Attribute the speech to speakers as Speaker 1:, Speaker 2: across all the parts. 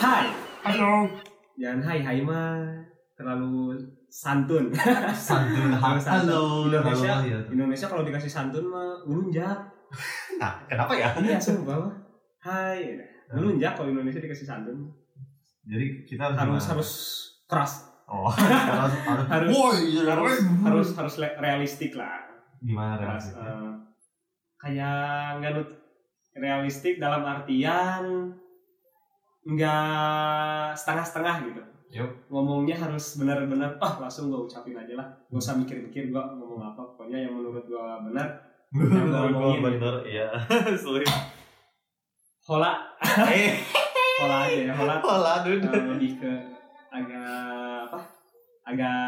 Speaker 1: Hai.
Speaker 2: Halo.
Speaker 1: Jangan hai hai mah terlalu santun.
Speaker 2: Santun.
Speaker 1: Terlalu santun.
Speaker 2: Halo.
Speaker 1: Indonesia.
Speaker 2: Halo, ya.
Speaker 1: Indonesia kalau dikasih santun mah ngelunjak.
Speaker 2: Nah, kenapa ya?
Speaker 1: Iya, sumpah mah. Hai. Ngelunjak kalau Indonesia dikasih santun.
Speaker 2: Jadi kita harus
Speaker 1: Harus
Speaker 2: gimana?
Speaker 1: harus keras.
Speaker 2: Oh, harus harus.
Speaker 1: Harus-
Speaker 2: Woi,
Speaker 1: Harus harus harus le- realistik lah.
Speaker 2: gimana
Speaker 1: Keras.
Speaker 2: reaksinya?
Speaker 1: eh, kayak nggak nut- realistik dalam artian nggak setengah-setengah gitu.
Speaker 2: Yup.
Speaker 1: ngomongnya harus benar-benar ah langsung gue ucapin aja lah gak usah mikir-mikir gue ngomong apa pokoknya yang menurut gue benar
Speaker 2: Bener,
Speaker 1: ngomongin.
Speaker 2: bener, iya. Sulit.
Speaker 1: hola
Speaker 2: Eh,
Speaker 1: hola aja ya hola
Speaker 2: pola
Speaker 1: eh, lebih ke agak apa agak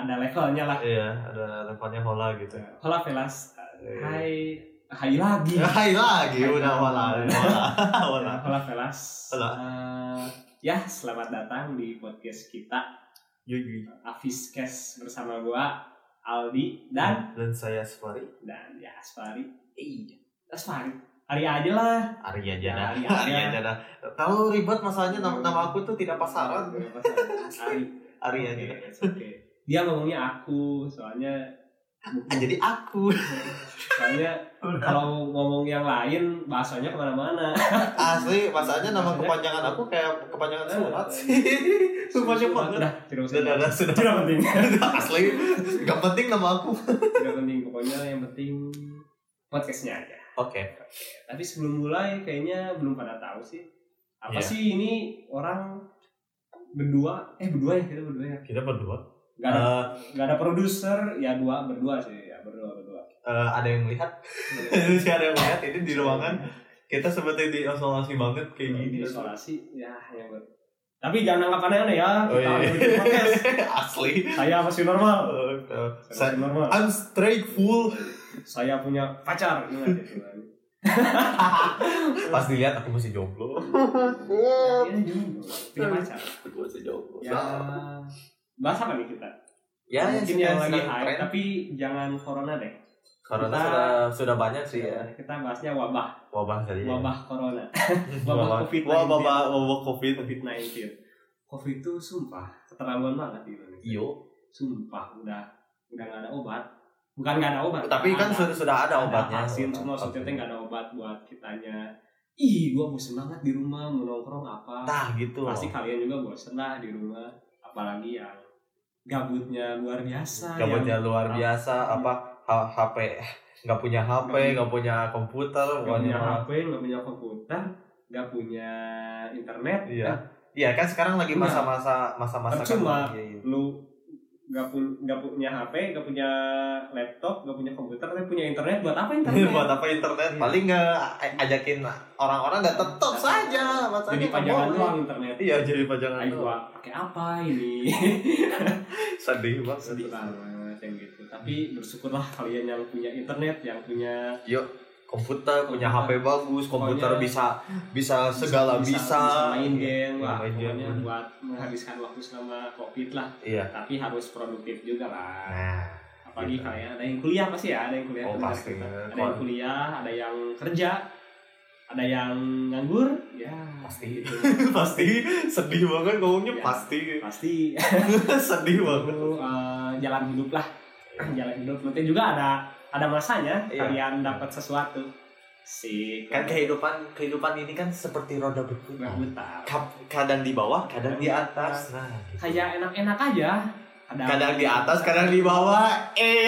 Speaker 1: ada levelnya lah
Speaker 2: Iya, ada levelnya hola gitu.
Speaker 1: hola Velas hai hai lagi
Speaker 2: Hai lagi, udah hola, hola, hola.
Speaker 1: Ya, hola Velas
Speaker 2: Hola.
Speaker 1: Eh, ya selamat datang di podcast kita Afiskes bersama gue Aldi dan
Speaker 2: Dan dan saya Safari.
Speaker 1: dan ya Asfari iya Asfari hari aja lah
Speaker 2: Arya Jana.
Speaker 1: Ya, Arya.
Speaker 2: Arya Jana. Tahu ribet masalahnya nama, nama aku tuh tidak pasaran.
Speaker 1: Iya, pasaran. Asfari
Speaker 2: Arya
Speaker 1: Oke,
Speaker 2: Jana.
Speaker 1: it's okay. dia ngomongnya aku soalnya
Speaker 2: Ah, Jadi aku.
Speaker 1: soalnya kalau ngomong yang lain bahasanya kemana-mana
Speaker 2: Asli, masalahnya nama kepanjangan aku kayak kepanjangan
Speaker 1: Eh,
Speaker 2: surat sih. Semuanya banget.
Speaker 1: udah tidak usah
Speaker 2: Sudah, sudah, sudah.
Speaker 1: eh, tidak penting
Speaker 2: Asli, gak penting nama aku.
Speaker 1: tidak penting pokoknya yang penting podcastnya aja
Speaker 2: Oke.
Speaker 1: tapi sebelum mulai kayaknya belum pada tahu sih apa
Speaker 2: Iya.
Speaker 1: sih ini orang berdua eh berdua ya kita berdua ya
Speaker 2: Kita berdua.
Speaker 1: Gak ada,
Speaker 2: Eh,
Speaker 1: nggak ada produser, ya dua berdua sih, ya berdua berdua.
Speaker 2: Eh, ada yang melihat, ada yang melihat ini di ruangan Iya, kita seperti di isolasi banget kayak
Speaker 1: Di
Speaker 2: gini.
Speaker 1: isolasi, ya yang ber- Tapi jangan anggap aneh-aneh ya. Kita
Speaker 2: Oh, iya.
Speaker 1: harus bikin podcast.
Speaker 2: Asli.
Speaker 1: Saya masih normal.
Speaker 2: Eh,
Speaker 1: Saya
Speaker 2: Saya,
Speaker 1: masih normal.
Speaker 2: I'm straight full.
Speaker 1: Saya punya pacar. Ingat itu kan.
Speaker 2: Pas dilihat aku masih jomblo.
Speaker 1: Iya, jomblo. Punya pacar.
Speaker 2: Aku masih jomblo.
Speaker 1: Ya. Bahas apa nih kita?
Speaker 2: ya
Speaker 1: Mungkin
Speaker 2: sih,
Speaker 1: yang lagi
Speaker 2: sedang
Speaker 1: hype,
Speaker 2: tren.
Speaker 1: tapi jangan corona deh.
Speaker 2: Corona
Speaker 1: Kita-
Speaker 2: sudah sudah banyak sih ya
Speaker 1: Kita bahasnya wabah,
Speaker 2: wabah tadi. ya.
Speaker 1: wabah corona, wabah
Speaker 2: wabah
Speaker 1: COVID-19.
Speaker 2: Wah, wabah wabah covid.
Speaker 1: COVID-19. COVID itu sumpah keterlaluan banget di Indonesia.
Speaker 2: Iyo.
Speaker 1: sumpah udah udah nggak ada obat bukan nggak ada obat
Speaker 2: Tapi kan
Speaker 1: sudah
Speaker 2: sudah sudah ada obatnya.
Speaker 1: vaksin cuma
Speaker 2: Obat.
Speaker 1: maksudnya nggak ada obat buat kitanya ih gua bosen banget di rumah mau nongkrong apa
Speaker 2: Nah gitu.
Speaker 1: pasti kalian juga bosen lah di rumah apalagi yang gabutnya luar biasa
Speaker 2: Gabutnya
Speaker 1: yang Ah.
Speaker 2: luar biasa. Apa H- HP nggak punya HP,
Speaker 1: punya-
Speaker 2: nggak punya komputer,
Speaker 1: nggak
Speaker 2: pokoknya
Speaker 1: punya
Speaker 2: mah.
Speaker 1: HP nggak punya komputer nggak punya internet
Speaker 2: Iya.
Speaker 1: Eh,
Speaker 2: Iya kan sekarang lagi
Speaker 1: Punya.
Speaker 2: masa-masa masa-masa kan
Speaker 1: Percuma.
Speaker 2: lagi, iya, iya.
Speaker 1: lu nggak pun nggak punya HP nggak punya laptop nggak punya komputer nggak punya internet buat apa internet
Speaker 2: buat apa internet
Speaker 1: Iya.
Speaker 2: paling nggak ajakin orang-orang nggak tetap saja masalahnya
Speaker 1: jadi
Speaker 2: nggak
Speaker 1: pajangan
Speaker 2: boleh.
Speaker 1: doang internet Nah,
Speaker 2: iya jadi pajangan
Speaker 1: Ayo
Speaker 2: doang.
Speaker 1: gua pakai apa ini?
Speaker 2: sedih banget
Speaker 1: Sedih banget yang gitu. Tapi bersyukurlah kalian yang punya internet, yang punya
Speaker 2: komputer punya
Speaker 1: Komputer.
Speaker 2: HP bagus komputer
Speaker 1: Pokoknya
Speaker 2: bisa Iya. bisa segala bisa, iya.
Speaker 1: main game lah.
Speaker 2: Main game.
Speaker 1: Pokoknya buat menghabiskan waktu selama covid lah.
Speaker 2: iya
Speaker 1: Tapi harus produktif juga lah.
Speaker 2: nah
Speaker 1: Apalagi
Speaker 2: gitu.
Speaker 1: kalian ada yang kuliah pasti ya, ada yang kuliah.
Speaker 2: Oh,
Speaker 1: dengar
Speaker 2: pasti.
Speaker 1: kita. Ada
Speaker 2: Kalau-
Speaker 1: yang kuliah, ada yang kerja, ada yang nganggur, ya
Speaker 2: Pasti.
Speaker 1: gitu.
Speaker 2: pasti sedih banget ngomongnya
Speaker 1: Iya.
Speaker 2: pasti
Speaker 1: pasti
Speaker 2: sedih banget
Speaker 1: itu eh, jalan hidup lah jalan hidup penting juga ada ada masanya
Speaker 2: Iya.
Speaker 1: kalian dapat sesuatu sih
Speaker 2: kan Oh. kehidupan kehidupan ini kan seperti roda
Speaker 1: nggak
Speaker 2: berputar
Speaker 1: buta
Speaker 2: Ka- kadang di bawah Nah. kadang di atas nah gitu.
Speaker 1: kayak enak-enak aja kadang,
Speaker 2: kadang di atas kadang di bawah eh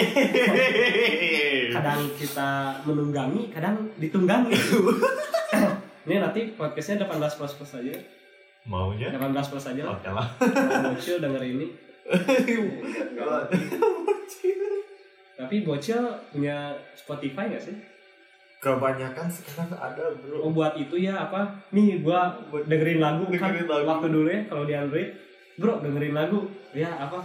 Speaker 1: kadang kita menunggangi kadang ditunggangi ini nanti podcastnya 18 plus plus aja
Speaker 2: maunya
Speaker 1: 18 plus aja lah
Speaker 2: oke lah
Speaker 1: Kalau bocil denger ini Nggak ngerti. tapi bocil punya Spotify gak sih?
Speaker 2: kebanyakan sekarang ada bro
Speaker 1: Oh buat itu ya apa? Nih gua dengerin lagu kan
Speaker 2: Dengerin lagu.
Speaker 1: waktu dulu ya kalau di Android, bro dengerin lagu ya apa?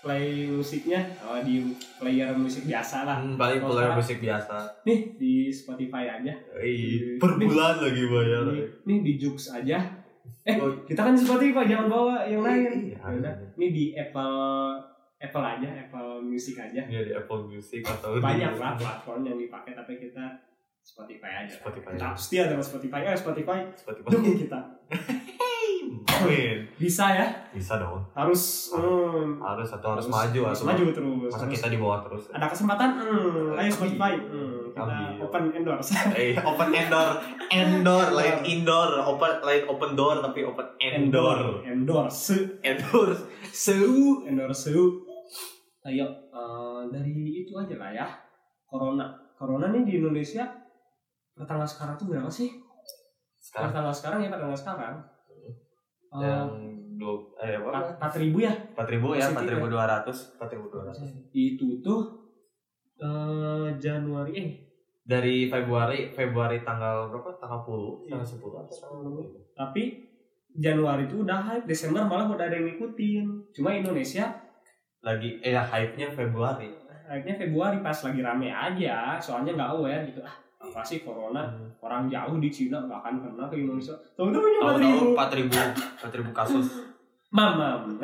Speaker 1: Play musiknya oh, di player musik biasa lah.
Speaker 2: Hmm, paling
Speaker 1: Kalau
Speaker 2: player
Speaker 1: sekarang-
Speaker 2: musik biasa
Speaker 1: Nih di Spotify aja.
Speaker 2: Ih, per bulan lagi bayar
Speaker 1: Nih, nih di Jux aja. Eh
Speaker 2: Oh.
Speaker 1: kita kan di Spotify jangan bawa yang lain.
Speaker 2: Iya.
Speaker 1: Ya udah, nih di Apple Apple aja, Apple Music aja.
Speaker 2: ya di Apple Music atau di-
Speaker 1: Banyak lah platform yang dipakai tapi kita Spotify aja.
Speaker 2: Spotify.
Speaker 1: Kita pasti ada Spotify. Eh Spotify
Speaker 2: Spotify
Speaker 1: dukung kita.
Speaker 2: Hey, Win.
Speaker 1: Bisa ya?
Speaker 2: Bisa dong.
Speaker 1: Harus hmm,
Speaker 2: Harus atau harus maju
Speaker 1: harus
Speaker 2: atau
Speaker 1: maju terus.
Speaker 2: masa
Speaker 1: Harus-
Speaker 2: kita di bawah terus.
Speaker 1: ada kesempatan hmm, ayo Spotify hmm, kita
Speaker 2: Ambil.
Speaker 1: open endorse
Speaker 2: Eh, open endor, endor, lain indoor, open lain open door tapi open endor,
Speaker 1: endorse
Speaker 2: endor, seu.
Speaker 1: endorse ayo eh, dari itu aja lah ya corona corona nih di Indonesia pertanggal sekarang tuh berapa sih
Speaker 2: Sekarang
Speaker 1: pertanggal sekarang ya pertanggal sekarang
Speaker 2: yang dua, eh apa?
Speaker 1: Oh. empat ribu ya
Speaker 2: Empat ribu ya, empat
Speaker 1: Positif
Speaker 2: ribu dua ratus, empat ribu dua ratus.
Speaker 1: itu tuh eh, Januari eh
Speaker 2: Dari Februari, Februari tanggal berapa? Tanggal puluh,
Speaker 1: Iya.
Speaker 2: tanggal sepuluh atau tanggal berapa?
Speaker 1: tapi Januari itu udah hype Desember malah udah ada yang ngikutin cuma Indonesia
Speaker 2: Lagi, eh ya, hype-nya Februari.
Speaker 1: akhirnya Februari pas lagi rame aja soalnya nggak aware gitu ah apa sih
Speaker 2: Nah,
Speaker 1: corona orang jauh di Cina nggak akan kena ke Indonesia tahu tahu ini empat ribu
Speaker 2: Tahu-tahu empat ribu, empat ribu kasus.
Speaker 1: mamam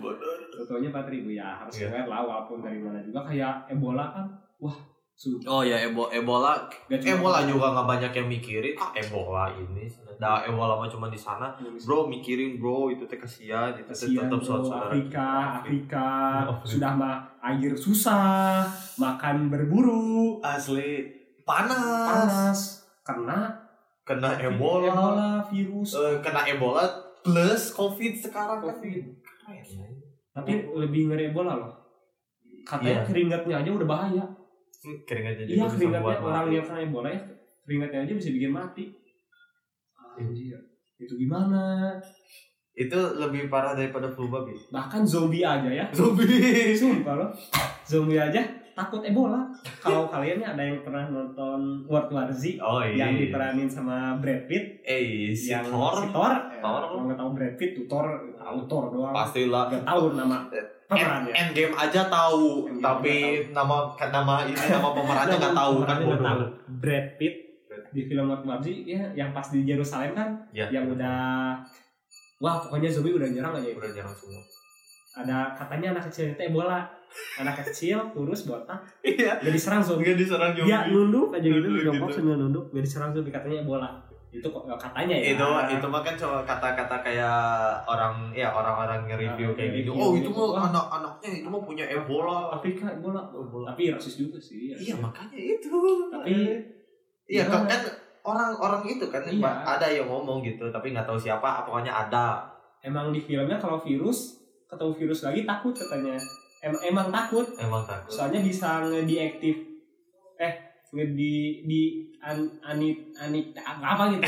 Speaker 2: Bodoh.
Speaker 1: Tahu-tahunya empat ribu ya harus
Speaker 2: Iya.
Speaker 1: aware lah walaupun dari mana juga kayak Ebola kan wah sudah
Speaker 2: Oh ya Ebo- Ebola Ebola juga nggak banyak yang mikirin ah, Ebola ini nah Ebola mah cuma di sana bro mikirin bro itu teh kasihan itu teh
Speaker 1: Kasihan bro,
Speaker 2: tetap saudara
Speaker 1: Afrika, Afrika,
Speaker 2: Oh, Afrika.
Speaker 1: sudah mah air susah, makan berburu,
Speaker 2: asli panas,
Speaker 1: panas, kena
Speaker 2: kena
Speaker 1: Ebola,
Speaker 2: Ebola,
Speaker 1: virus,
Speaker 2: Eh, kena Ebola plus COVID sekarang kan
Speaker 1: COVID.
Speaker 2: Keren. ya.
Speaker 1: Tapi lebih ngeri Ebola loh. Katanya
Speaker 2: Iya.
Speaker 1: keringatnya aja udah bahaya.
Speaker 2: keringat
Speaker 1: iya
Speaker 2: jadi bisa
Speaker 1: keringatnya
Speaker 2: buat
Speaker 1: orang
Speaker 2: mati.
Speaker 1: yang kena Ebola ya keringatnya aja bisa bikin mati. Anjir. Itu gimana?
Speaker 2: itu lebih parah daripada flu babi
Speaker 1: Bahkan zombie aja ya.
Speaker 2: zombie
Speaker 1: Sumpah loh. Zombie aja takut Ebola. Kalau kalian ada yang pernah nonton World War Z
Speaker 2: oh iya
Speaker 1: yang diperanin sama Brad Pitt
Speaker 2: eh si
Speaker 1: yang si
Speaker 2: Thor
Speaker 1: Thor,
Speaker 2: Thor.
Speaker 1: Eh, kalau nggak tahu Brad Pitt tuh Thor, tahu Thor doang.
Speaker 2: pastilah
Speaker 1: Nggak tahu nama
Speaker 2: Eh,
Speaker 1: pemerannya.
Speaker 2: Endgame aja tahu,
Speaker 1: Endgame
Speaker 2: tapi nama nama ini nama pemerannya nggak tahu kan
Speaker 1: Pemerannya nggak
Speaker 2: bodoh.
Speaker 1: tahu. Brad Pitt di film World War Z ya yang pas di Yerusalem kan
Speaker 2: Ya.
Speaker 1: yang udah wah pokoknya zombie udah nyerang aja
Speaker 2: udah jarang semua.
Speaker 1: ada katanya anak kecil itu bola anak kecil kurus botak
Speaker 2: Iya,
Speaker 1: gak diserang zombie
Speaker 2: nggak diserang zombie.
Speaker 1: ya nunduk aja gitu
Speaker 2: Nunduk
Speaker 1: jongkok
Speaker 2: gitu.
Speaker 1: sambil nunduk gak diserang zombie katanya bola itu kok katanya ya
Speaker 2: itu itu mah kan cuma kata-kata kayak orang ya orang-orang nge-review
Speaker 1: Orang
Speaker 2: kayak gitu.
Speaker 1: nge-review
Speaker 2: Oh, itu
Speaker 1: gitu.
Speaker 2: mah
Speaker 1: Wah.
Speaker 2: anak-anaknya itu mah punya Ebola.
Speaker 1: Afrika bola
Speaker 2: Ebola.
Speaker 1: tapi rasis juga sih ya.
Speaker 2: Iya, makanya itu.
Speaker 1: Tapi-
Speaker 2: iya kan,
Speaker 1: Gimana?
Speaker 2: kan orang-orang itu kan
Speaker 1: Iya.
Speaker 2: ada yang ngomong gitu, tapi nggak tahu siapa, pokoknya ada.
Speaker 1: emang di filmnya kalau virus ketemu virus lagi takut katanya Em- emang takut
Speaker 2: Emang takut.
Speaker 1: soalnya bisa ngediaktif eh ngedi di an, anit anit apa gitu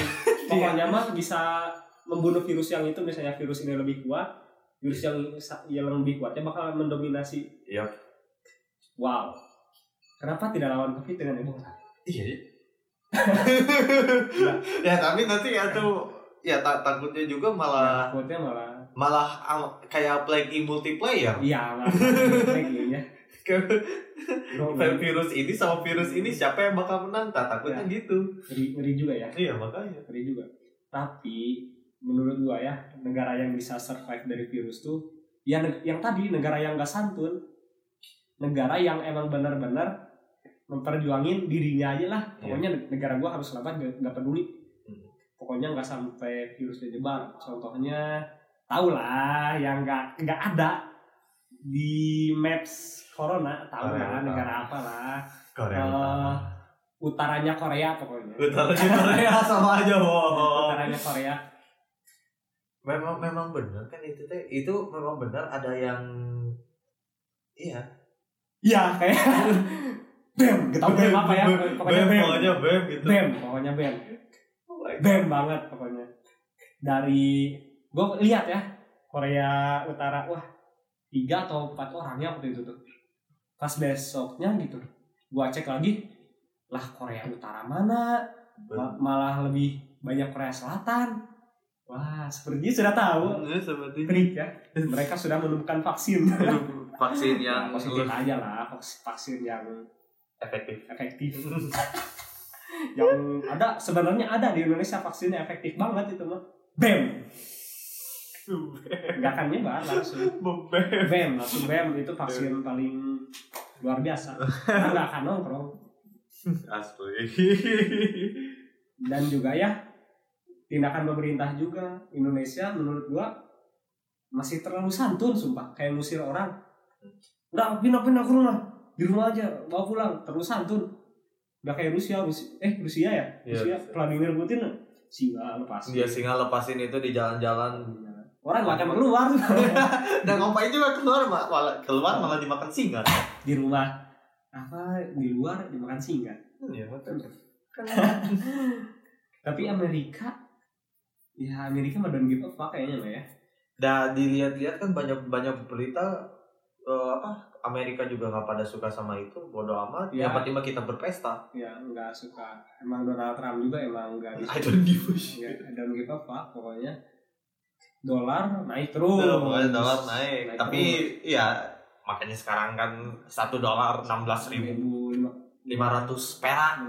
Speaker 1: pokoknya mah bisa membunuh virus yang itu misalnya virus ini lebih kuat virus yang sa- yang lebih kuatnya bakal mendominasi
Speaker 2: Yap.
Speaker 1: wow kenapa tidak lawan covid dengan ebola
Speaker 2: Iya. ya tapi nanti ya tuh ya ta- takutnya juga malah
Speaker 1: takutnya malah
Speaker 2: malah am- kayak playing in multiplayer.
Speaker 1: iya malah lagi ya Bro,
Speaker 2: Kayak virus ini sama virus ini siapa yang bakal menang? Tak takutnya gitu.
Speaker 1: ngeri, ngeri juga ya
Speaker 2: Iya makanya.
Speaker 1: ngeri juga tapi menurut gua ya negara yang bisa survive dari virus tuh ya neg- yang tadi negara yang gak santun negara yang emang benar-benar memperjuangin dirinya aja lah pokoknya neg- negara gua harus selamat gak, nggak peduli
Speaker 2: Iya. Hmm.
Speaker 1: pokoknya nggak sampai virusnya nyebar contohnya tau lah yang nggak nggak ada di maps corona tau
Speaker 2: Korea
Speaker 1: lah
Speaker 2: Utara.
Speaker 1: negara apa lah
Speaker 2: Korea
Speaker 1: Eh,
Speaker 2: Utara.
Speaker 1: utaranya Korea pokoknya
Speaker 2: Utaranya Korea sama aja bohong.
Speaker 1: utaranya Korea
Speaker 2: Memang memang benar kan itu teh itu memang benar ada yang iya
Speaker 1: Iya kayak BEM, gak tau BEM apa ya
Speaker 2: Bem,
Speaker 1: Pokoknya
Speaker 2: bem,
Speaker 1: BEM
Speaker 2: pokoknya bem gitu.
Speaker 1: BEM, pokoknya BEM
Speaker 2: Oh my God.
Speaker 1: BEM banget pokoknya Dari, gue lihat ya Korea Utara, wah Tiga atau empat orangnya waktu itu tuh Pas besoknya gitu Gue cek lagi Lah Korea Utara mana Ma- Malah lebih banyak Korea Selatan Wah, sepertinya sudah tahu
Speaker 2: Ya, seperti
Speaker 1: Trik ya Mereka sudah menemukan vaksin
Speaker 2: vaksin yang
Speaker 1: Nah, positif aja lah vaks- vaksin yang
Speaker 2: efektif.
Speaker 1: efektif yang ada sebenarnya ada di Indonesia vaksinnya efektif banget itu mah bem nggak akan nyebar langsung
Speaker 2: Bebek.
Speaker 1: bem langsung bem itu
Speaker 2: E
Speaker 1: vaksin paling luar biasa Karena nggak akan nongkrong
Speaker 2: Asli.
Speaker 1: dan juga ya tindakan pemerintah juga Indonesia menurut gua masih terlalu santun sumpah kayak ngusir orang udah pindah pindah ke rumah di rumah aja bawa pulang terlalu santun udah kayak Rusia Rusi- eh Rusia ya
Speaker 2: Iya,
Speaker 1: Rusia
Speaker 2: Rusia.
Speaker 1: Vladimir Putin singa lepas
Speaker 2: dia singa lepasin itu di jalan-jalan
Speaker 1: orang nggak akan keluar
Speaker 2: dan ngapain juga keluar ma- malah keluar malah dimakan singa
Speaker 1: di rumah apa di luar dimakan singa
Speaker 2: Iya,
Speaker 1: tapi Amerika ya Amerika mah don't give a fuck kayaknya lah ya
Speaker 2: Nah dilihat-lihat kan banyak banyak berita eh, apa Amerika juga nggak pada suka sama itu bodoh amat
Speaker 1: Iya.
Speaker 2: yang penting mah kita berpesta
Speaker 1: ya nggak suka emang Donald Trump juga emang nggak
Speaker 2: I don't give a
Speaker 1: Ya,
Speaker 2: shit
Speaker 1: don't give a fuck pokoknya dolar naik terus
Speaker 2: Nah, pokoknya dolar naik tapi ya makanya sekarang kan satu dolar enam belas ribu lima ratus perak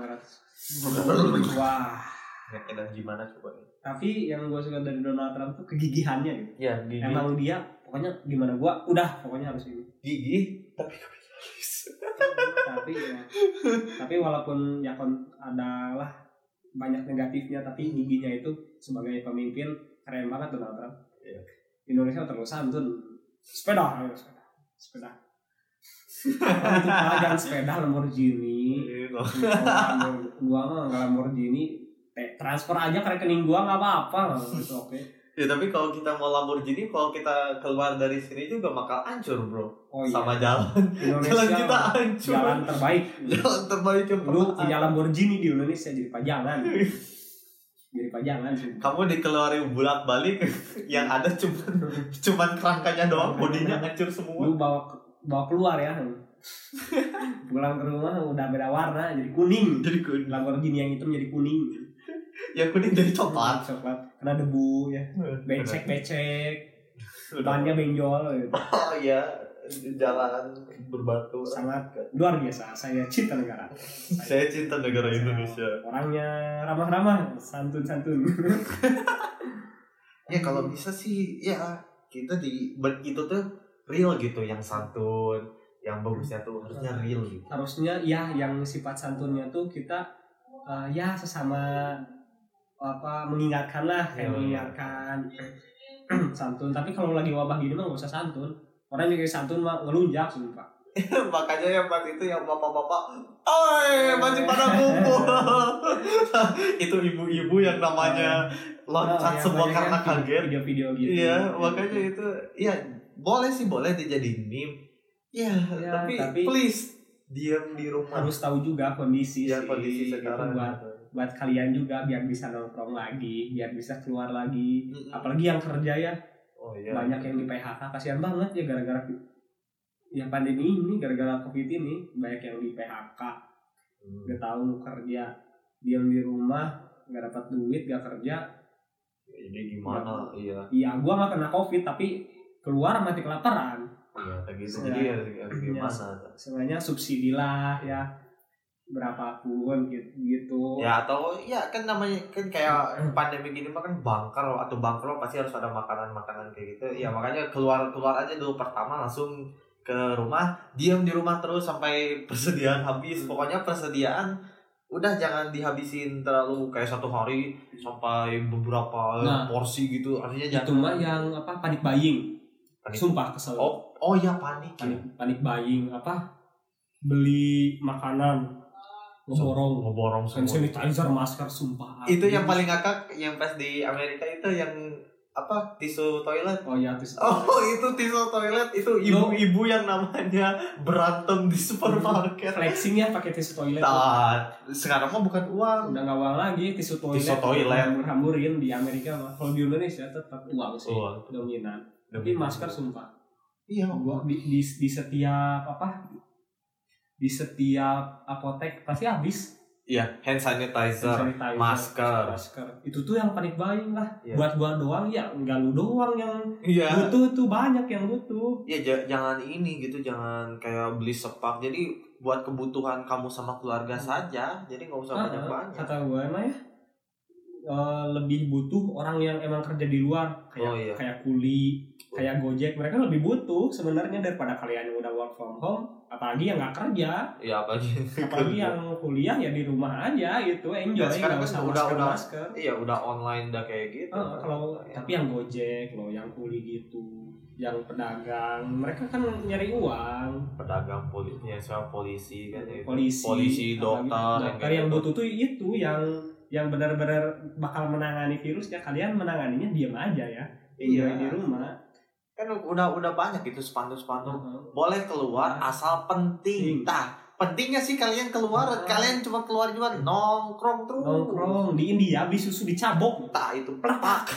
Speaker 1: wah
Speaker 2: Ya, dan gimana coba
Speaker 1: tapi yang gue suka dari Donald Trump tuh kegigihannya gitu
Speaker 2: ya gigi
Speaker 1: emang dia pokoknya gimana gua udah pokoknya harus ini
Speaker 2: gigi tapi kapitalis
Speaker 1: tapi ya tapi walaupun ya kon adalah banyak negatifnya tapi giginya itu sebagai pemimpin keren banget Donald Trump
Speaker 2: Iya.
Speaker 1: Indonesia terlalu santun sepeda ayo sepeda sepeda Orang itu malah jangan sepeda Lamborghini
Speaker 2: Gitu.
Speaker 1: Orang gua mah nggak Lamborghini Eh, transfer aja ke rekening gua nggak apa-apa Gitu, oke
Speaker 2: ya tapi kalau kita mau Lamborghini kalau kita keluar dari sini juga bakal hancur bro
Speaker 1: oh iya
Speaker 2: sama jalan jalan
Speaker 1: Indonesia
Speaker 2: kita hancur
Speaker 1: jalan terbaik
Speaker 2: jalan terbaik yang
Speaker 1: lu
Speaker 2: pernah
Speaker 1: punya Lamborghini di Indonesia jadi pajangan jadi pajangan sumpah.
Speaker 2: kamu dikeluarin bulat balik yang ada cuman cuman kerangkanya doang bodinya hancur semua
Speaker 1: lu bawa ke- bawa keluar ya pulang ke rumah udah beda warna jadi kuning
Speaker 2: jadi kuning
Speaker 1: Lamborghini yang hitam jadi kuning
Speaker 2: yang kuning jadi coklat
Speaker 1: coklat karena debu ya becek becek
Speaker 2: udah
Speaker 1: bannya benjol gitu.
Speaker 2: oh ya jalan berbatu
Speaker 1: sangat luar biasa saya cinta negara
Speaker 2: saya cinta negara Indonesia
Speaker 1: orangnya ramah-ramah santun-santun
Speaker 2: ya kalau bisa sih ya kita di ber- itu tuh real gitu yang santun yang bagusnya tuh harusnya real gitu
Speaker 1: harusnya ya yang sifat santunnya tuh kita eh, ya sesama apa mengingatkan lah kayak
Speaker 2: Iya.
Speaker 1: mengingatkan santun tapi kalau lagi wabah gini mah gak usah santun orang yang kayak santun mah ngelunjak sumpah
Speaker 2: makanya yang pas itu yang bapak-bapak oi masih pada kumpul Eh. itu ibu-ibu yang namanya loncat
Speaker 1: Nah,
Speaker 2: semua
Speaker 1: yang
Speaker 2: karena
Speaker 1: banyak kan
Speaker 2: kaget
Speaker 1: video-video gitu
Speaker 2: iya makanya itu ya boleh sih boleh dijadiin meme ya,
Speaker 1: Ya,
Speaker 2: tapi,
Speaker 1: tapi-
Speaker 2: please diam di rumah
Speaker 1: harus tahu juga kondisi
Speaker 2: ya
Speaker 1: sih,
Speaker 2: kondisi
Speaker 1: gitu,
Speaker 2: sekarang
Speaker 1: buat buat kalian juga biar bisa nongkrong lagi biar bisa keluar lagi
Speaker 2: Mm-mm.
Speaker 1: apalagi yang kerja ya
Speaker 2: oh iya
Speaker 1: banyak yang di PHK kasihan banget ya gara-gara ya pandemi ini gara-gara covid ini banyak yang di PHK
Speaker 2: Hmm.
Speaker 1: nggak tahu mau kerja diam di rumah nggak dapat duit nggak kerja
Speaker 2: ini gimana iya
Speaker 1: ya gua nggak kena covid tapi keluar mati kelaparan
Speaker 2: iya kayak gitu
Speaker 1: Ya.
Speaker 2: jadi harus
Speaker 1: Ya.
Speaker 2: harus gimana
Speaker 1: sebenarnya subsidi lah ya berapapun gitu, gitu.
Speaker 2: ya atau ya kan namanya kan
Speaker 1: Hmm.
Speaker 2: kayak pandemi gini mah kan bangkrut atau bangkrut pasti harus ada makanan makanan kayak gitu
Speaker 1: Hmm.
Speaker 2: ya makanya keluar keluar aja dulu pertama langsung ke rumah diam di rumah terus sampai persediaan
Speaker 1: Hmm.
Speaker 2: habis pokoknya persediaan udah jangan dihabisin terlalu kayak satu hari sampai beberapa
Speaker 1: Nah.
Speaker 2: porsi gitu artinya
Speaker 1: itu
Speaker 2: jangan
Speaker 1: mah ya. yang apa panik buying
Speaker 2: Panik-
Speaker 1: sumpah kesel
Speaker 2: oh oh ya panik ya
Speaker 1: panik, panik buying apa beli makanan ngeborong
Speaker 2: ngeborong
Speaker 1: hand
Speaker 2: semua
Speaker 1: sanitizer masker sumpah
Speaker 2: itu yang paling ngakak yang pas di Amerika itu yang apa tisu toilet
Speaker 1: oh ya tis
Speaker 2: Oh itu tisu toilet itu ibu-ibu yang namanya berantem di supermarket.
Speaker 1: flexing ya pakai tisu toilet
Speaker 2: Nah, sekarang mah bukan uang.
Speaker 1: udah nggak uang lagi tisu toilet
Speaker 2: Tisu toilet.
Speaker 1: hambur-hamburin di Amerika mah kalau di Indonesia tetap uang sih
Speaker 2: Uang.
Speaker 1: dominan tapi masker sumpah
Speaker 2: Iya.
Speaker 1: gua di, di, di setiap apa di setiap apotek pasti habis
Speaker 2: Iya, hand sanitizer.
Speaker 1: sanitizer,
Speaker 2: Nah, masker.
Speaker 1: masker itu tuh yang panik buying lah
Speaker 2: Iya.
Speaker 1: buat gua doang ya nggak lu doang yang
Speaker 2: Iya.
Speaker 1: butuh tuh banyak yang butuh
Speaker 2: Ya ja- jangan ini gitu, jangan kayak beli sepak. Jadi buat kebutuhan kamu sama keluarga saja. Jadi nggak usah
Speaker 1: Hmm. Ah,
Speaker 2: banyak-banyak.
Speaker 1: kata gue emang ya eh, lebih butuh orang yang emang kerja di luar kayak
Speaker 2: Oh, iya.
Speaker 1: kayak kuli kayak gojek mereka lebih butuh sebenarnya daripada kalian yang udah work from home apalagi yang nggak kerja
Speaker 2: ya apalagi
Speaker 1: apalagi yang kuliah ya di rumah aja gitu enjoy
Speaker 2: Dan sekarang
Speaker 1: nggak usah
Speaker 2: kan udah-
Speaker 1: masker
Speaker 2: udah-
Speaker 1: masker
Speaker 2: iya udah online udah kayak gitu
Speaker 1: Eh, kalau tapi yang gojek loh yang kuli gitu yang pedagang mereka kan nyari uang
Speaker 2: pedagang polisnya sama polisi kan gitu.
Speaker 1: Iya, polisi
Speaker 2: polisi
Speaker 1: apalagi
Speaker 2: dokter gitu.
Speaker 1: dokter yang butuh tuh itu yang yang benar-benar bakal menangani virusnya kalian menanganinya diam aja ya
Speaker 2: Iya.
Speaker 1: Enjoy di rumah
Speaker 2: kan udah udah banyak itu spanduk spanduk
Speaker 1: Heeh.
Speaker 2: boleh keluar asal
Speaker 1: Nah. Penting.
Speaker 2: penting tah pentingnya sih kalian keluar
Speaker 1: Heeh.
Speaker 2: kalian cuma keluar juga nongkrong terus
Speaker 1: nongkrong di India beli susu dicabok
Speaker 2: tah itu plepak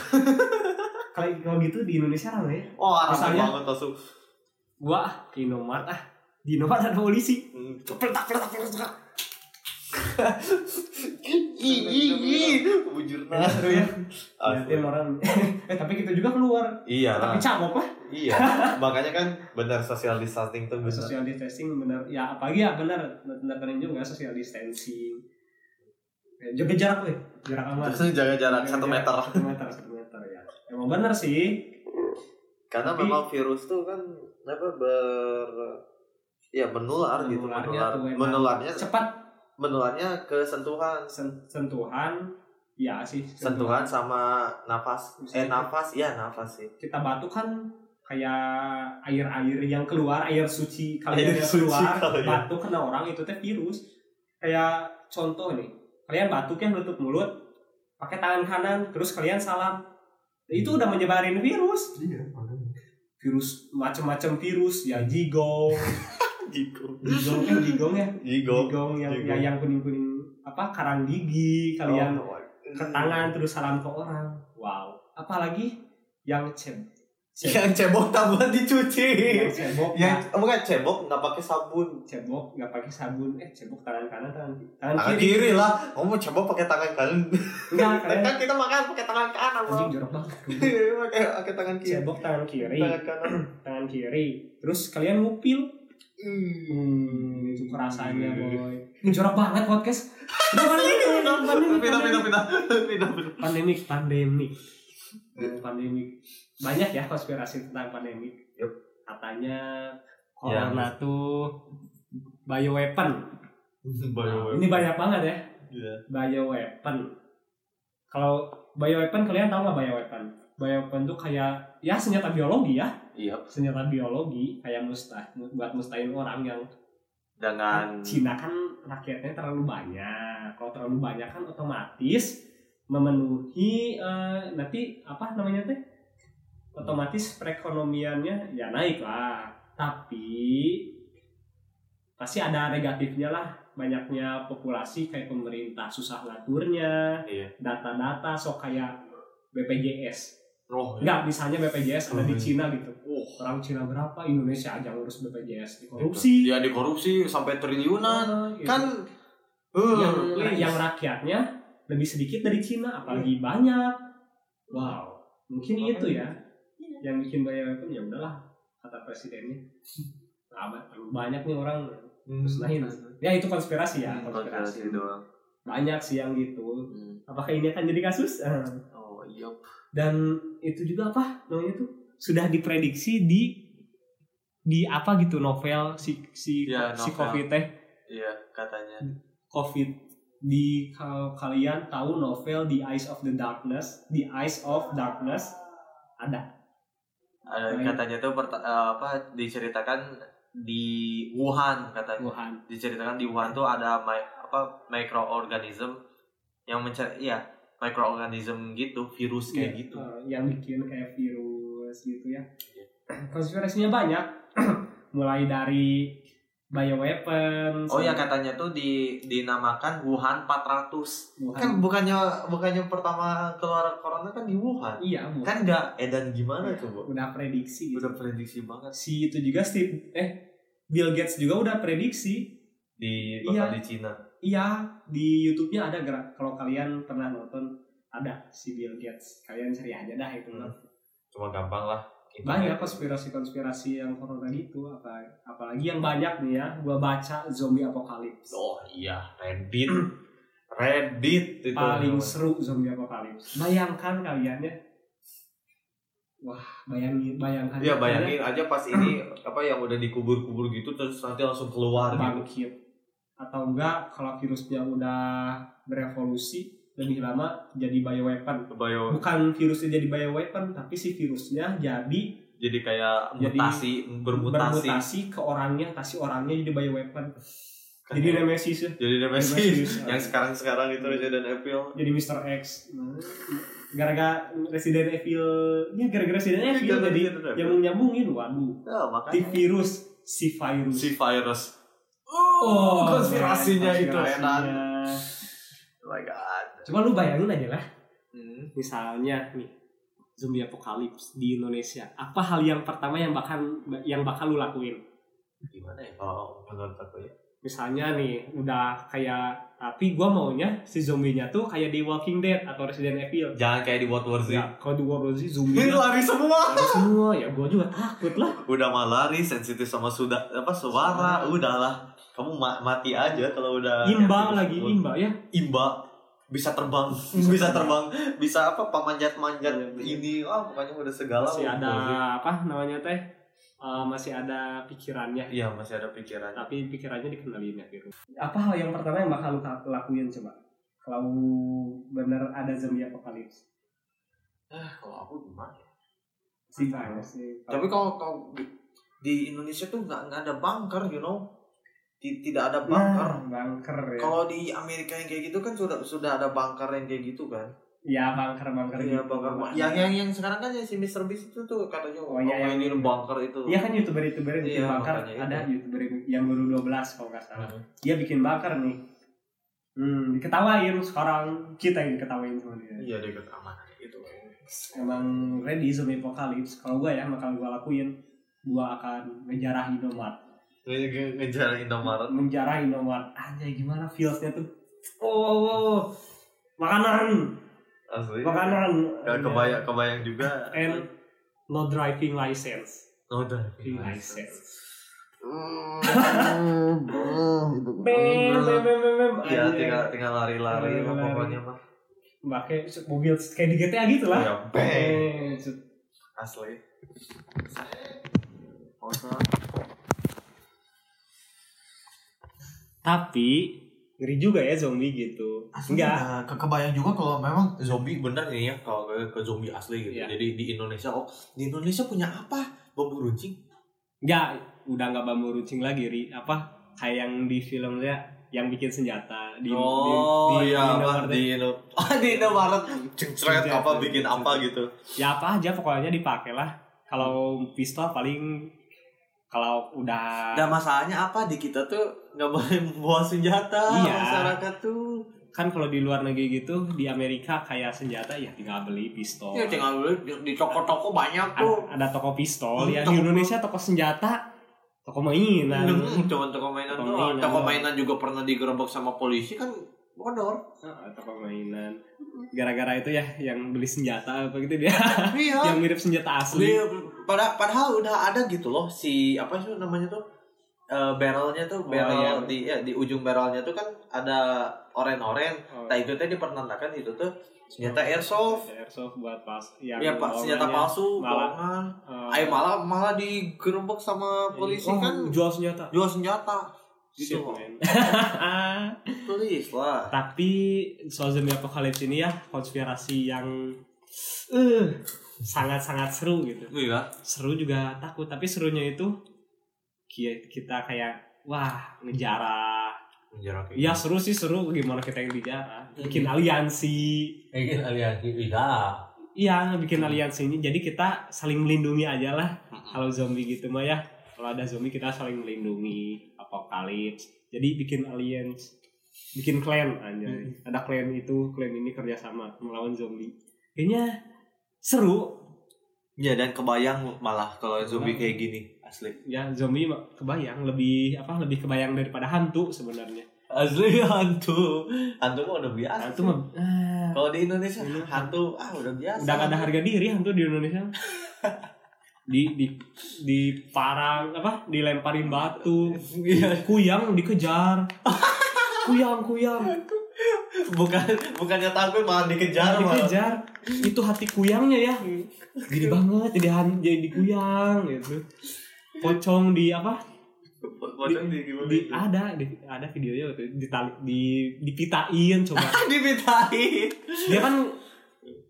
Speaker 1: kalau kalau gitu di Indonesia rame ya
Speaker 2: oh rame
Speaker 1: Misalnya?
Speaker 2: banget langsung
Speaker 1: gua ah, ke Indomaret ah di Indomaret ada polisi
Speaker 2: Hmm,
Speaker 1: peletak peletak peletak
Speaker 2: ih ih ih bujur nah
Speaker 1: Seru ya. Liatin orang eh tapi kita juga keluar
Speaker 2: iya lah
Speaker 1: tapi cabok lah
Speaker 2: iya makanya kan benar social distancing tuh benar
Speaker 1: social distancing benar ya apalagi ya benar benerin juga social distancing Eh, jaga jarak weh jarak aman
Speaker 2: terus jaga jarak
Speaker 1: Jaga
Speaker 2: satu
Speaker 1: jarak,
Speaker 2: meter
Speaker 1: Iya, satu meter satu meter ya emang bener sih
Speaker 2: karena
Speaker 1: Tapi-
Speaker 2: memang virus tuh kan apa ber ya menular gitu
Speaker 1: Menularnya
Speaker 2: menular
Speaker 1: tuh emang.
Speaker 2: menularnya
Speaker 1: cepat
Speaker 2: menularnya ke sentuhan
Speaker 1: sen- sentuhan ya sih
Speaker 2: sentuhan sama nafas
Speaker 1: Bisa
Speaker 2: eh
Speaker 1: gitu.
Speaker 2: nafas ya nafas sih
Speaker 1: kita batuk kan kayak air-air yang keluar air suci kalian yang
Speaker 2: Air suci
Speaker 1: keluar
Speaker 2: kalian.
Speaker 1: batuk kena orang itu teh virus kayak contoh nih kalian batuk yang nutup mulut pakai tangan kanan terus kalian salam itu udah menyebarin virus
Speaker 2: iya
Speaker 1: virus macam-macam virus ya jigong
Speaker 2: Jigong
Speaker 1: jigong kan jigong ya
Speaker 2: Jigong
Speaker 1: jigong yang ya,
Speaker 2: Jigong.
Speaker 1: yang kuning-kuning apa karang gigi kalian
Speaker 2: Oh,
Speaker 1: ke tangan terus salam ke orang wow apalagi yang cem cebok
Speaker 2: yang cebok tambah dicuci
Speaker 1: yang cebok
Speaker 2: yang oh, bukan cebok nggak pakai sabun
Speaker 1: cebok nggak pakai sabun eh cebok tangan kanan tangan kiri tangan
Speaker 2: tangan
Speaker 1: kiri
Speaker 2: kiri lah kamu coba pakai tangan kanan
Speaker 1: enggak kalian
Speaker 2: kan kita makan pakai tangan kanan Bang.
Speaker 1: anjing jorok banget
Speaker 2: pakai pakai tangan kiri
Speaker 1: cebok tangan kiri
Speaker 2: tangan kanan
Speaker 1: tangan kiri terus kalian ngupil hmm, itu rasanya boy ini jorok banget podcast Udah, pandemik, pandemik,
Speaker 2: pindah pindah
Speaker 1: pandemik.
Speaker 2: pindah pindah pindah
Speaker 1: pandemik pandemik Eh, pandemik banyak ya konspirasi tentang pandemik
Speaker 2: Yup.
Speaker 1: katanya
Speaker 2: Ya.
Speaker 1: corona tuh bioweapon
Speaker 2: Bio-
Speaker 1: ini banyak banget ya
Speaker 2: Iya.
Speaker 1: bioweapon. Kalau bioweapon kalian tahu nggak bioweapon? Bioweapon tuh kayak ya senjata biologi ya,
Speaker 2: iya
Speaker 1: senjata biologi kayak mustah buat mustahin orang yang
Speaker 2: dengan
Speaker 1: Cina kan rakyatnya terlalu banyak. Kalau terlalu banyak kan otomatis memenuhi eh, nanti apa namanya teh? Otomatis perekonomiannya ya naik lah. Tapi pasti ada negatifnya lah banyaknya populasi kayak pemerintah susah ngaturnya
Speaker 2: Iya.
Speaker 1: data-data sok kayak BPJS
Speaker 2: roh
Speaker 1: nggak misalnya BPJS ada di
Speaker 2: Hmm.
Speaker 1: Cina gitu
Speaker 2: Wah.
Speaker 1: orang Cina berapa Indonesia aja ngurus BPJS dikorupsi
Speaker 2: dia dikorupsi sampai triliunan
Speaker 1: Nah, gitu.
Speaker 2: Oh, gitu. Iya. kan
Speaker 1: yang,
Speaker 2: eh,
Speaker 1: Iya, yang rakyatnya lebih sedikit dari Cina apalagi banyak wow mungkin
Speaker 2: Iya. Makanya. iya.
Speaker 1: itu ya yang bikin bayar itu ya udahlah kata presidennya Nah, terlalu banyak nih orang
Speaker 2: Hmm.
Speaker 1: terus lain ya itu konspirasi ya konspirasi
Speaker 2: doang
Speaker 1: banyak sih yang gitu apakah ini akan jadi kasus Eh,
Speaker 2: Hmm. oh iya
Speaker 1: dan itu juga apa namanya tuh sudah diprediksi di di apa gitu novel si si
Speaker 2: Ya,
Speaker 1: si
Speaker 2: novel.
Speaker 1: covid teh
Speaker 2: iya katanya
Speaker 1: COVID di kalau kalian tahu novel The Eyes of the Darkness, The Eyes of Darkness ada.
Speaker 2: ada
Speaker 1: Lain.
Speaker 2: katanya tuh perta- eh, apa diceritakan di Wuhan katanya
Speaker 1: Wuhan.
Speaker 2: diceritakan di Wuhan tuh ada mi- apa mikroorganisme yang mencari ya mikroorganisme gitu virus kayak
Speaker 1: Ya,
Speaker 2: gitu
Speaker 1: eh, yang bikin kayak virus gitu ya. Konspirasinya banyak. Mulai dari bioweapon.
Speaker 2: oh ya
Speaker 1: sampai
Speaker 2: katanya tuh di dinamakan Wuhan 400
Speaker 1: Wuhan.
Speaker 2: kan bukannya bukannya pertama keluar corona kan di Wuhan
Speaker 1: iya, Wuhan.
Speaker 2: kan nggak edan gimana coba
Speaker 1: udah prediksi gitu.
Speaker 2: udah prediksi banget
Speaker 1: Si itu juga Steve eh Bill Gates juga udah prediksi
Speaker 2: di
Speaker 1: Iya.
Speaker 2: bakal di Cina
Speaker 1: Iya, di YouTube-nya ada gerak. Kalau kalian pernah nonton, ada si Bill Gates. Kalian cari aja dah itu.
Speaker 2: Hmm. cuma gampang lah
Speaker 1: Banyak konspirasi-konspirasi yang corona gitu, apa apalagi yang banyak nih ya. Gua baca zombie apokalips.
Speaker 2: oh iya Reddit Reddit itu gitu.
Speaker 1: Paling seru zombie apokalips. Bayangkan kalian ya. bayangin bayangkan ya,
Speaker 2: Iya bayangin aja pas ini apa yang udah dikubur-kubur gitu terus nanti langsung keluar gitu.
Speaker 1: bangkit atau enggak kalau virusnya udah berevolusi lebih lama jadi bioweapon
Speaker 2: Bio,
Speaker 1: bukan virusnya jadi bioweapon tapi si virusnya jadi
Speaker 2: jadi kayak
Speaker 1: Jadi
Speaker 2: mutasi, bermutasi.
Speaker 1: bermutasi ke orangnya tasi orangnya jadi bioweapon jadi
Speaker 2: Kayak-
Speaker 1: Nemesis ya.
Speaker 2: jadi
Speaker 1: Nemesis.
Speaker 2: Nemesis yang sekarang-sekarang itu Resident Evil.
Speaker 1: jadi Mr. X Nah, gara-gara Resident Evil ya gara-gara Resident Evil jadi nyambung nyambungin waduh
Speaker 2: Ya,
Speaker 1: si
Speaker 2: makanya
Speaker 1: virus si virus
Speaker 2: si virus. Oh, konspirasinya
Speaker 1: men,
Speaker 2: itu enak.
Speaker 1: konspirasinya.
Speaker 2: Oh my god.
Speaker 1: Coba lu bayangin aja lah,
Speaker 2: Hmm.
Speaker 1: misalnya nih zombie apokalips di Indonesia. Apa hal yang pertama yang bakal yang bakal lu lakuin?
Speaker 2: Gimana ya kalau menurut aku ya?
Speaker 1: Misalnya nih udah kayak tapi gua maunya si zombinya tuh kayak di Walking Dead atau Resident Evil.
Speaker 2: Jangan kayak di World War Z.
Speaker 1: Ya, kalau di World War Z
Speaker 2: Ini
Speaker 1: zombinya
Speaker 2: lari semua.
Speaker 1: ada semua ya gua juga takut lah.
Speaker 2: Udah mah lari sensitif sama sudah apa suara, udahlah. Kamu ma- mati aja kalau udah
Speaker 1: Imba lagi imba ya.
Speaker 2: imba bisa terbang bisa terbang bisa apa pemanjat manjat ini ah pokoknya udah segala
Speaker 1: Masih ada
Speaker 2: World War Z.
Speaker 1: apa namanya teh? Eh, masih ada pikirannya
Speaker 2: iya masih ada pikiran
Speaker 1: tapi pikirannya dikendaliin ya virus. Apa hal yang pertama yang bakal lu ka- lakuin coba? Kalau bener ada zombie apokalips.
Speaker 2: eh kalau aku gimana ya?
Speaker 1: Sih banyak sih.
Speaker 2: tapi kalau kalau di- di Indonesia tuh nggak nggak ada bunker you know Ti- tidak ada bunker
Speaker 1: nah, bunker ya.
Speaker 2: kalau di Amerika yang kayak gitu kan sudah sudah ada bunker yang kayak gitu kan
Speaker 1: ya bunker bunker
Speaker 2: Iya, bunker yang yang yang sekarang kan ya si Mr. Beast itu tuh katanya
Speaker 1: Oh, iya, yang-
Speaker 2: ini bunker itu
Speaker 1: Iya kan youtuber youtuber yang bikin
Speaker 2: Gitu. Iya,
Speaker 1: bunker
Speaker 2: makanya
Speaker 1: ada youtuber yang baru 12 kalau nggak salah.
Speaker 2: Hmm.
Speaker 1: Dia bikin bunker nih. Hmm, diketawain sekarang kita yang diketawain sama dia.
Speaker 2: iya dekat amanannya itu
Speaker 1: Emang ready zombie apokalips. Kalau gua ya bakal gua lakuin gua akan ngejarah Indomaret.
Speaker 2: Nge- nge- ngejar Indomaret
Speaker 1: menjarah Indomaret anjay gimana feelsnya tuh oh, oh, oh. makanan
Speaker 2: asli
Speaker 1: makanan
Speaker 2: Gak kebayang kebayang juga. Oh,
Speaker 1: and no driving license
Speaker 2: no
Speaker 1: driving
Speaker 2: driving
Speaker 1: license
Speaker 2: Mm,
Speaker 1: mem mem
Speaker 2: Iya
Speaker 1: mem mem mem
Speaker 2: tinggal tinggal lari-lari apa
Speaker 1: Lari-lari.
Speaker 2: pokoknya mah.
Speaker 1: pakai mobil kayak di GTA gitu lah
Speaker 2: Iya,
Speaker 1: Eh,
Speaker 2: bang.
Speaker 1: set-
Speaker 2: Asli. Masa
Speaker 1: tapi ngeri juga ya zombie gitu enggak
Speaker 2: ke kebayang juga kalau memang zombie bener nih ya kalau ke, ke zombie asli gitu.
Speaker 1: Iya.
Speaker 2: Jadi di Indonesia oh di Indonesia punya apa? Bambu runcing.
Speaker 1: enggak udah enggak bambu runcing lagi ri apa kayak yang di filmnya yang bikin senjata di di, di, Indomaret.
Speaker 2: Oh, iya, di Indo- Oh, di Indomaret cengcret
Speaker 1: Cengcret,
Speaker 2: apa bikin
Speaker 1: cengcret.
Speaker 2: apa gitu.
Speaker 1: ya apa aja pokoknya dipakai lah kalau pistol paling kalau udah
Speaker 2: Dan Nah, masalahnya apa di kita tuh nggak boleh membawa senjata
Speaker 1: Iya.
Speaker 2: masyarakat tuh.
Speaker 1: kan kalau di luar negeri gitu di Amerika kayak senjata ya tinggal beli pistol
Speaker 2: Ya tinggal beli di, di toko-toko banyak
Speaker 1: ada,
Speaker 2: tuh.
Speaker 1: ada toko pistol ya di
Speaker 2: Toko-
Speaker 1: Indonesia toko senjata toko mainan
Speaker 2: Hmm, cuman toko mainan
Speaker 1: Toko
Speaker 2: doang.
Speaker 1: mainan
Speaker 2: Toko
Speaker 1: doang.
Speaker 2: mainan juga pernah digerebek sama polisi kan bodor.
Speaker 1: Ah, toko mainan gara-gara itu ya yang beli senjata apa gitu dia
Speaker 2: Iya.
Speaker 1: yang mirip senjata asli
Speaker 2: Dia- pada padahal udah ada gitu loh si apa sih namanya tuh Eh, barrelnya
Speaker 1: Oh,
Speaker 2: tuh
Speaker 1: iya.
Speaker 2: barrel di ya, di ujung barrelnya tuh kan ada oren-oren.
Speaker 1: Oh,
Speaker 2: Nah itu teh dipertentakan itu tuh senjata airsoft.
Speaker 1: airsoft buat pas yang
Speaker 2: Ya pak senjata
Speaker 1: bohongannya,
Speaker 2: palsu,
Speaker 1: malah-
Speaker 2: bohongan.
Speaker 1: eh,
Speaker 2: Ayo malah malah digerebek sama polisi
Speaker 1: oh,
Speaker 2: kan
Speaker 1: jual senjata
Speaker 2: jual senjata. Gitu
Speaker 1: Shit,
Speaker 2: loh.
Speaker 1: man.
Speaker 2: Tulis lah.
Speaker 1: tapi soal zombie apocalypse ini ya konspirasi yang eh sangat sangat seru gitu
Speaker 2: Iya.
Speaker 1: seru juga takut tapi serunya itu ki- kita kayak wah ngejarah
Speaker 2: Menjarak
Speaker 1: ya seru sih seru gimana kita yang dijarah bikin aliansi
Speaker 2: Bikin aliansi bisa.
Speaker 1: iya bikin aliansi ini jadi kita saling melindungi aja lah kalau zombie gitu mah ya kalau ada zombie kita saling melindungi apokalips jadi bikin alliance bikin clan anjay ada clan itu clan ini kerjasama melawan zombie kayaknya seru
Speaker 2: Ya dan kebayang malah kalau zombie kayak gini asli.
Speaker 1: ya zombie mah kebayang lebih apa lebih kebayang daripada hantu sebenarnya
Speaker 2: Asli hantu. Hantu mah udah biasa.
Speaker 1: hantu mah ah,
Speaker 2: Kalau di Indonesia
Speaker 1: Ini
Speaker 2: hantu ah udah biasa.
Speaker 1: udah gak ada harga diri hantu di Indonesia di di di parang apa dilemparin batu
Speaker 2: Iya.
Speaker 1: kuyang dikejar kuyang kuyang
Speaker 2: bukan bukannya takut malah dikejar malah
Speaker 1: dikejar itu hati kuyangnya ya gede banget jadi han- jadi dikuyang gitu pocong di apa
Speaker 2: pocong di ah, gimana
Speaker 1: di ada di, ada videonya waktu itu ditali di dipitain coba
Speaker 2: Ah, dipitain
Speaker 1: dia kan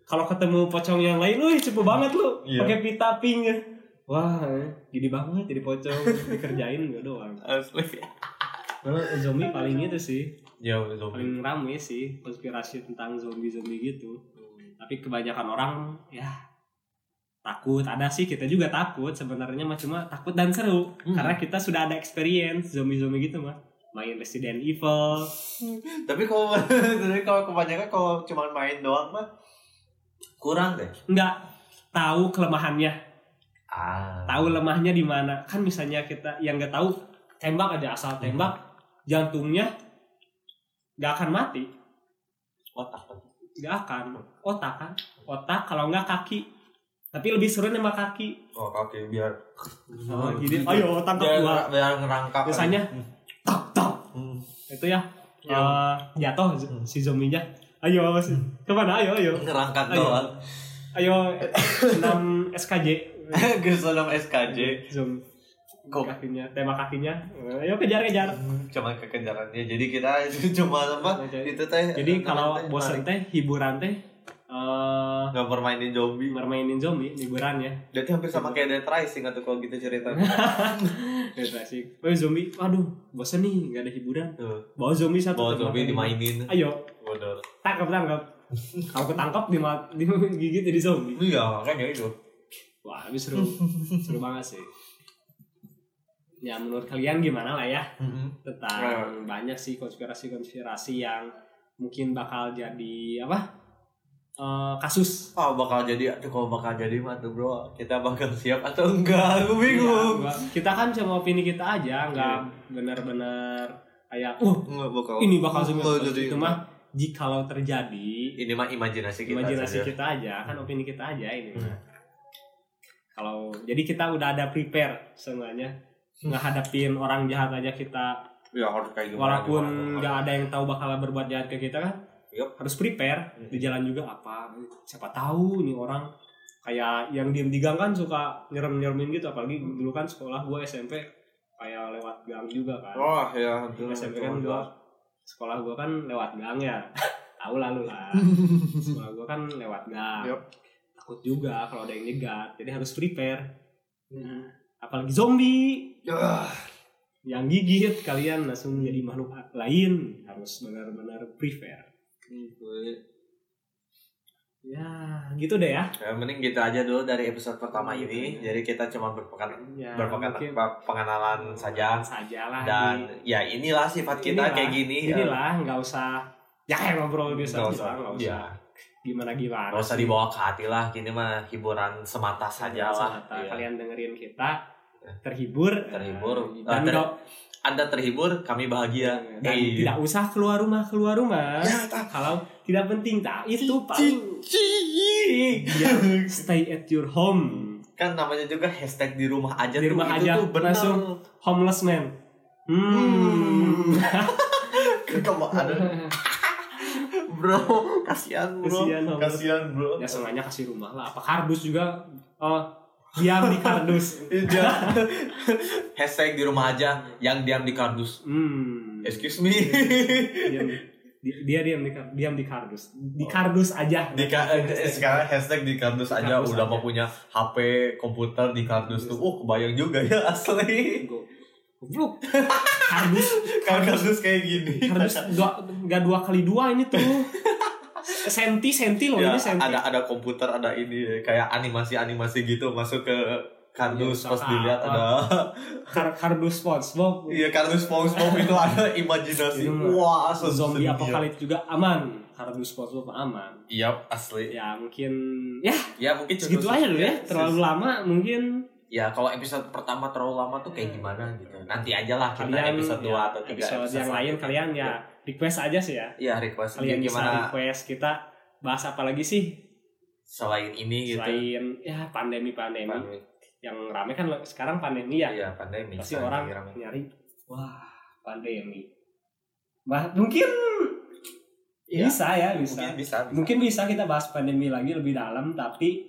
Speaker 1: kalau ketemu pocong yang lain wih cepu banget lu
Speaker 2: Iya.
Speaker 1: pakai pita pink ya. wah gini banget jadi pocong dikerjain gue doang
Speaker 2: asli
Speaker 1: Nah, zombie paling itu sih
Speaker 2: ya zombie
Speaker 1: paling rame sih konspirasi tentang zombie zombie gitu tapi kebanyakan orang ya takut ada sih kita juga takut sebenarnya mah cuma takut dan seru
Speaker 2: Hmm.
Speaker 1: karena kita sudah ada experience zombie zombie gitu mah main Resident Evil
Speaker 2: tapi kalau tapi kalau kebanyakan kalau cuma main doang mah kurang deh
Speaker 1: nggak tahu kelemahannya
Speaker 2: ah
Speaker 1: tahu lemahnya di mana kan misalnya kita yang nggak tahu tembak aja asal tembak jantungnya nggak akan mati
Speaker 2: otak
Speaker 1: nggak akan otak kan otak kalau nggak kaki tapi lebih seru nembak kaki
Speaker 2: oh kaki biar
Speaker 1: oh, jadi
Speaker 2: gitu.
Speaker 1: ayo tangkap
Speaker 2: biar,
Speaker 1: dua
Speaker 2: biar ngerangkap
Speaker 1: Biasanya. tok tok
Speaker 2: Hmm.
Speaker 1: itu ya
Speaker 2: Ya.
Speaker 1: eh, jatuh z-
Speaker 2: Hmm.
Speaker 1: si zombinya ayo si- kemana ayo ayo
Speaker 2: ngerangkak
Speaker 1: Ayo.
Speaker 2: doang
Speaker 1: ayo 6 SKJ
Speaker 2: Gus dalam SKJ
Speaker 1: zombie
Speaker 2: Kok?
Speaker 1: kakinya tembak kakinya ayo kejar kejar
Speaker 2: cuma kekejaran dia jadi kita itu cuma apa itu teh
Speaker 1: Jadi
Speaker 2: teman
Speaker 1: kalau
Speaker 2: teh
Speaker 1: bosan teh hiburan teh eh
Speaker 2: nggak permainin zombie
Speaker 1: mermainin zombie hiburan ya.
Speaker 2: jadi hampir sama kayak Dead Rising atau kalau gitu ceritanya
Speaker 1: Kayak klasik. Oh zombie, waduh bosan nih nggak ada hiburan.
Speaker 2: Tuh.
Speaker 1: Bawa zombie satu.
Speaker 2: bawa
Speaker 1: tembak
Speaker 2: zombie
Speaker 1: lagi.
Speaker 2: dimainin
Speaker 1: Ayo
Speaker 2: bodoh
Speaker 1: tangkap tangkap. Kalau ketangkap dima- digigit jadi zombie.
Speaker 2: iya kan ya itu
Speaker 1: Wah ini seru seru banget sih. Ya menurut kalian gimana lah ya tentang banyak sih konspirasi-konspirasi yang mungkin bakal jadi apa Eh, kasus.
Speaker 2: Oh bakal jadi aduh kalau bakal jadi mah tuh bro kita bakal siap atau enggak aku bingung Iya.
Speaker 1: Iya, gua- kita kan cuma opini kita aja, nggak benar-benar kayak uh
Speaker 2: Nggak bakal
Speaker 1: ini bakal zombie
Speaker 2: Bakal
Speaker 1: apocalypse."
Speaker 2: Oh, jadi
Speaker 1: itu mah jikalau terjadi
Speaker 2: ini mah imajinasi kita
Speaker 1: imajinasi
Speaker 2: saja.
Speaker 1: kita aja kan opini kita aja ini mah.
Speaker 2: Hmm.
Speaker 1: kalau jadi kita udah ada prepare semuanya ngadepin orang jahat aja kita
Speaker 2: ya harus kayak gimana
Speaker 1: walaupun
Speaker 2: gimana.
Speaker 1: nggak ada yang tahu bakal berbuat jahat ke kita kan
Speaker 2: Yup.
Speaker 1: harus prepare
Speaker 2: Hmm.
Speaker 1: di jalan juga apa siapa tahu nih orang kayak yang diem di gang kan suka nyerem nyeremin gitu apalagi
Speaker 2: Hmm.
Speaker 1: dulu kan sekolah gua SMP kayak lewat gang juga kan
Speaker 2: Wah ya itu
Speaker 1: SMP kan gua sekolah gua kan lewat gang ya tahu lah lu lah sekolah gua kan lewat gang
Speaker 2: Yup.
Speaker 1: takut juga kalau ada yang nyegat jadi harus prepare apalagi zombie yang gigit kalian langsung jadi makhluk lain harus benar-benar prepare ya gitu deh ya
Speaker 2: Ya, mending gitu aja dulu dari episode pertama
Speaker 1: Gitu
Speaker 2: ini.
Speaker 1: ya.
Speaker 2: Jadi kita cuma berpekan
Speaker 1: ya
Speaker 2: berpekan
Speaker 1: mungkin-
Speaker 2: pengenalan saja
Speaker 1: saja lah
Speaker 2: dan ya inilah sifat kita
Speaker 1: Inilah.
Speaker 2: kayak gini.
Speaker 1: di- inilah nggak usah ya kayak ngobrol
Speaker 2: ya.
Speaker 1: biasa
Speaker 2: Iya.
Speaker 1: gitu. kita,
Speaker 2: Nggak usah.
Speaker 1: nggak
Speaker 2: Ya,
Speaker 1: usah gimana gimana
Speaker 2: nggak usah dibawa ke hati lah. Ini mah hiburan semata saja lah.
Speaker 1: Semata.
Speaker 2: Iya.
Speaker 1: Kalian dengerin kita terhibur,
Speaker 2: Terhibur.
Speaker 1: eh,
Speaker 2: Eh,
Speaker 1: dan
Speaker 2: ter-
Speaker 1: nggak-
Speaker 2: Anda terhibur, kami bahagia.
Speaker 1: dan
Speaker 2: Eh.
Speaker 1: tidak usah keluar rumah keluar rumah
Speaker 2: Ya, tak.
Speaker 1: kalau Iya, tidak penting tak itu
Speaker 2: Iya.
Speaker 1: pak
Speaker 2: Cici.
Speaker 1: Ya, stay at your home
Speaker 2: Kan namanya juga hashtag di rumah aja.
Speaker 1: Di
Speaker 2: tuh,
Speaker 1: rumah
Speaker 2: itu
Speaker 1: aja,
Speaker 2: tuh bener.
Speaker 1: langsung. homeless man
Speaker 2: Hmm.
Speaker 1: hmm.
Speaker 2: Kalau Kan, ada bro, kasihan bro.
Speaker 1: Kasihan homeless
Speaker 2: Kasihan bro.
Speaker 1: ya sengaja kasih rumah lah apa kardus juga oh diam di kardus
Speaker 2: Iya. Hashtag di rumah aja yang diam di kardus.
Speaker 1: hmm.
Speaker 2: Excuse me.
Speaker 1: diam di- dia diam di kar- diam di kardus di kardus aja
Speaker 2: Oh. Di ka- eh, sekarang hashtag di kardus
Speaker 1: Di
Speaker 2: aja
Speaker 1: kardus
Speaker 2: udah
Speaker 1: aja.
Speaker 2: mau punya HP komputer di kardus tuh. Oh, kebayang juga ya asli.
Speaker 1: Go- goblok kardus
Speaker 2: Kalau kardus kayak gini.
Speaker 1: kardus dua, nggak dua kali dua ini tuh senti senti loh
Speaker 2: Ya,
Speaker 1: ini senti
Speaker 2: ada ada komputer, ada ini kayak animasi-animasi gitu masuk ke
Speaker 1: Ya,
Speaker 2: kardus pas
Speaker 1: apa-
Speaker 2: dilihat ada
Speaker 1: Kar- kardus SpongeBob
Speaker 2: iya kardus SpongeBob itu ada
Speaker 1: Itu
Speaker 2: imajinasi
Speaker 1: mah
Speaker 2: wah so
Speaker 1: Iya. zombie apokalips juga aman kardus SpongeBob aman
Speaker 2: iya asli
Speaker 1: ya mungkin ya
Speaker 2: ya mungkin cukup
Speaker 1: segitu aja dulu ya
Speaker 2: sekian.
Speaker 1: terlalu lama mungkin
Speaker 2: ya kalau episode pertama terlalu lama tuh kayak gimana gitu nanti aja lah kita
Speaker 1: Hmm. kalian
Speaker 2: episode 2
Speaker 1: ya,
Speaker 2: atau 3
Speaker 1: episode yang lain kalian ya request aja sih ya
Speaker 2: ya request
Speaker 1: kalian
Speaker 2: dia
Speaker 1: bisa
Speaker 2: gimana
Speaker 1: request kita bahas apa lagi sih
Speaker 2: selain ini gitu
Speaker 1: selain ya pandemi pandemi
Speaker 2: pandemi
Speaker 1: yang rame kan lo- sekarang pandemi ya
Speaker 2: iya pandemi
Speaker 1: pasti
Speaker 2: Pandemi
Speaker 1: orang
Speaker 2: rame.
Speaker 1: nyari wah pandemi bah mungkin
Speaker 2: Iya.
Speaker 1: Bisa ya, bisa.
Speaker 2: Mungkin bisa, bisa.
Speaker 1: Mungkin bisa kita bahas pandemi lagi lebih dalam, tapi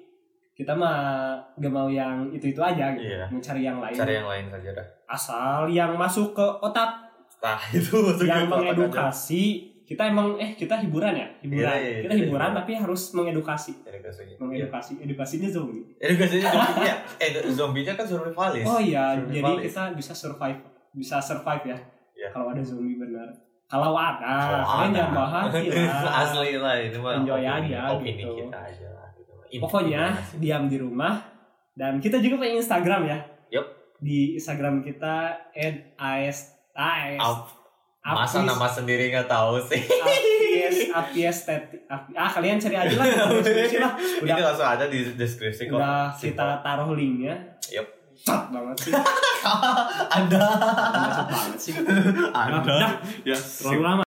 Speaker 1: kita mah gak mau yang itu-itu aja gitu.
Speaker 2: Iya.
Speaker 1: Mau cari yang lain.
Speaker 2: Cari yang lain saja dah.
Speaker 1: Asal yang masuk ke otak,
Speaker 2: Nah, itu
Speaker 1: yang
Speaker 2: maksudnya gua apa aja.
Speaker 1: mengedukasi. Kita emang eh kita hiburan ya, hiburan.
Speaker 2: Iya, iya, iya,
Speaker 1: kita
Speaker 2: kita
Speaker 1: hiburan
Speaker 2: hiburan.
Speaker 1: tapi harus mengedukasi.
Speaker 2: Edukasi. Iya.
Speaker 1: Mengedukasi, edukasinya zombie.
Speaker 2: Edukasinya zombie ya. Eh, zombinya kan survivalis.
Speaker 1: Oh iya,
Speaker 2: Survivalis.
Speaker 1: jadi kita bisa survive, bisa survive ya.
Speaker 2: Iya.
Speaker 1: Kalau ada zombie benar. Kalau ada,
Speaker 2: Kalau
Speaker 1: kalian
Speaker 2: ada.
Speaker 1: jangan bahas ya. lah.
Speaker 2: Asli lah itu mah.
Speaker 1: Enjoy
Speaker 2: opini-
Speaker 1: aja,
Speaker 2: Opini
Speaker 1: gitu.
Speaker 2: kita aja lah. gitu. Ini-
Speaker 1: Pokoknya
Speaker 2: ini.
Speaker 1: diam di rumah dan kita juga punya Instagram ya.
Speaker 2: Yup.
Speaker 1: Di Instagram kita @as
Speaker 2: Ap- Masa nama sendiri nggak tahu sih.
Speaker 1: Apies, Apies, Teti- Ap- ah kalian cari aja lah, di deskripsi lah. Udah,
Speaker 2: Ini langsung ada di deskripsi kok.
Speaker 1: udah kita taruh linknya.
Speaker 2: Yup.
Speaker 1: Cot banget sih,
Speaker 2: ada.
Speaker 1: Bacot banget sih.
Speaker 2: Ada.
Speaker 1: Udah,
Speaker 2: Ya,
Speaker 1: terlalu lama.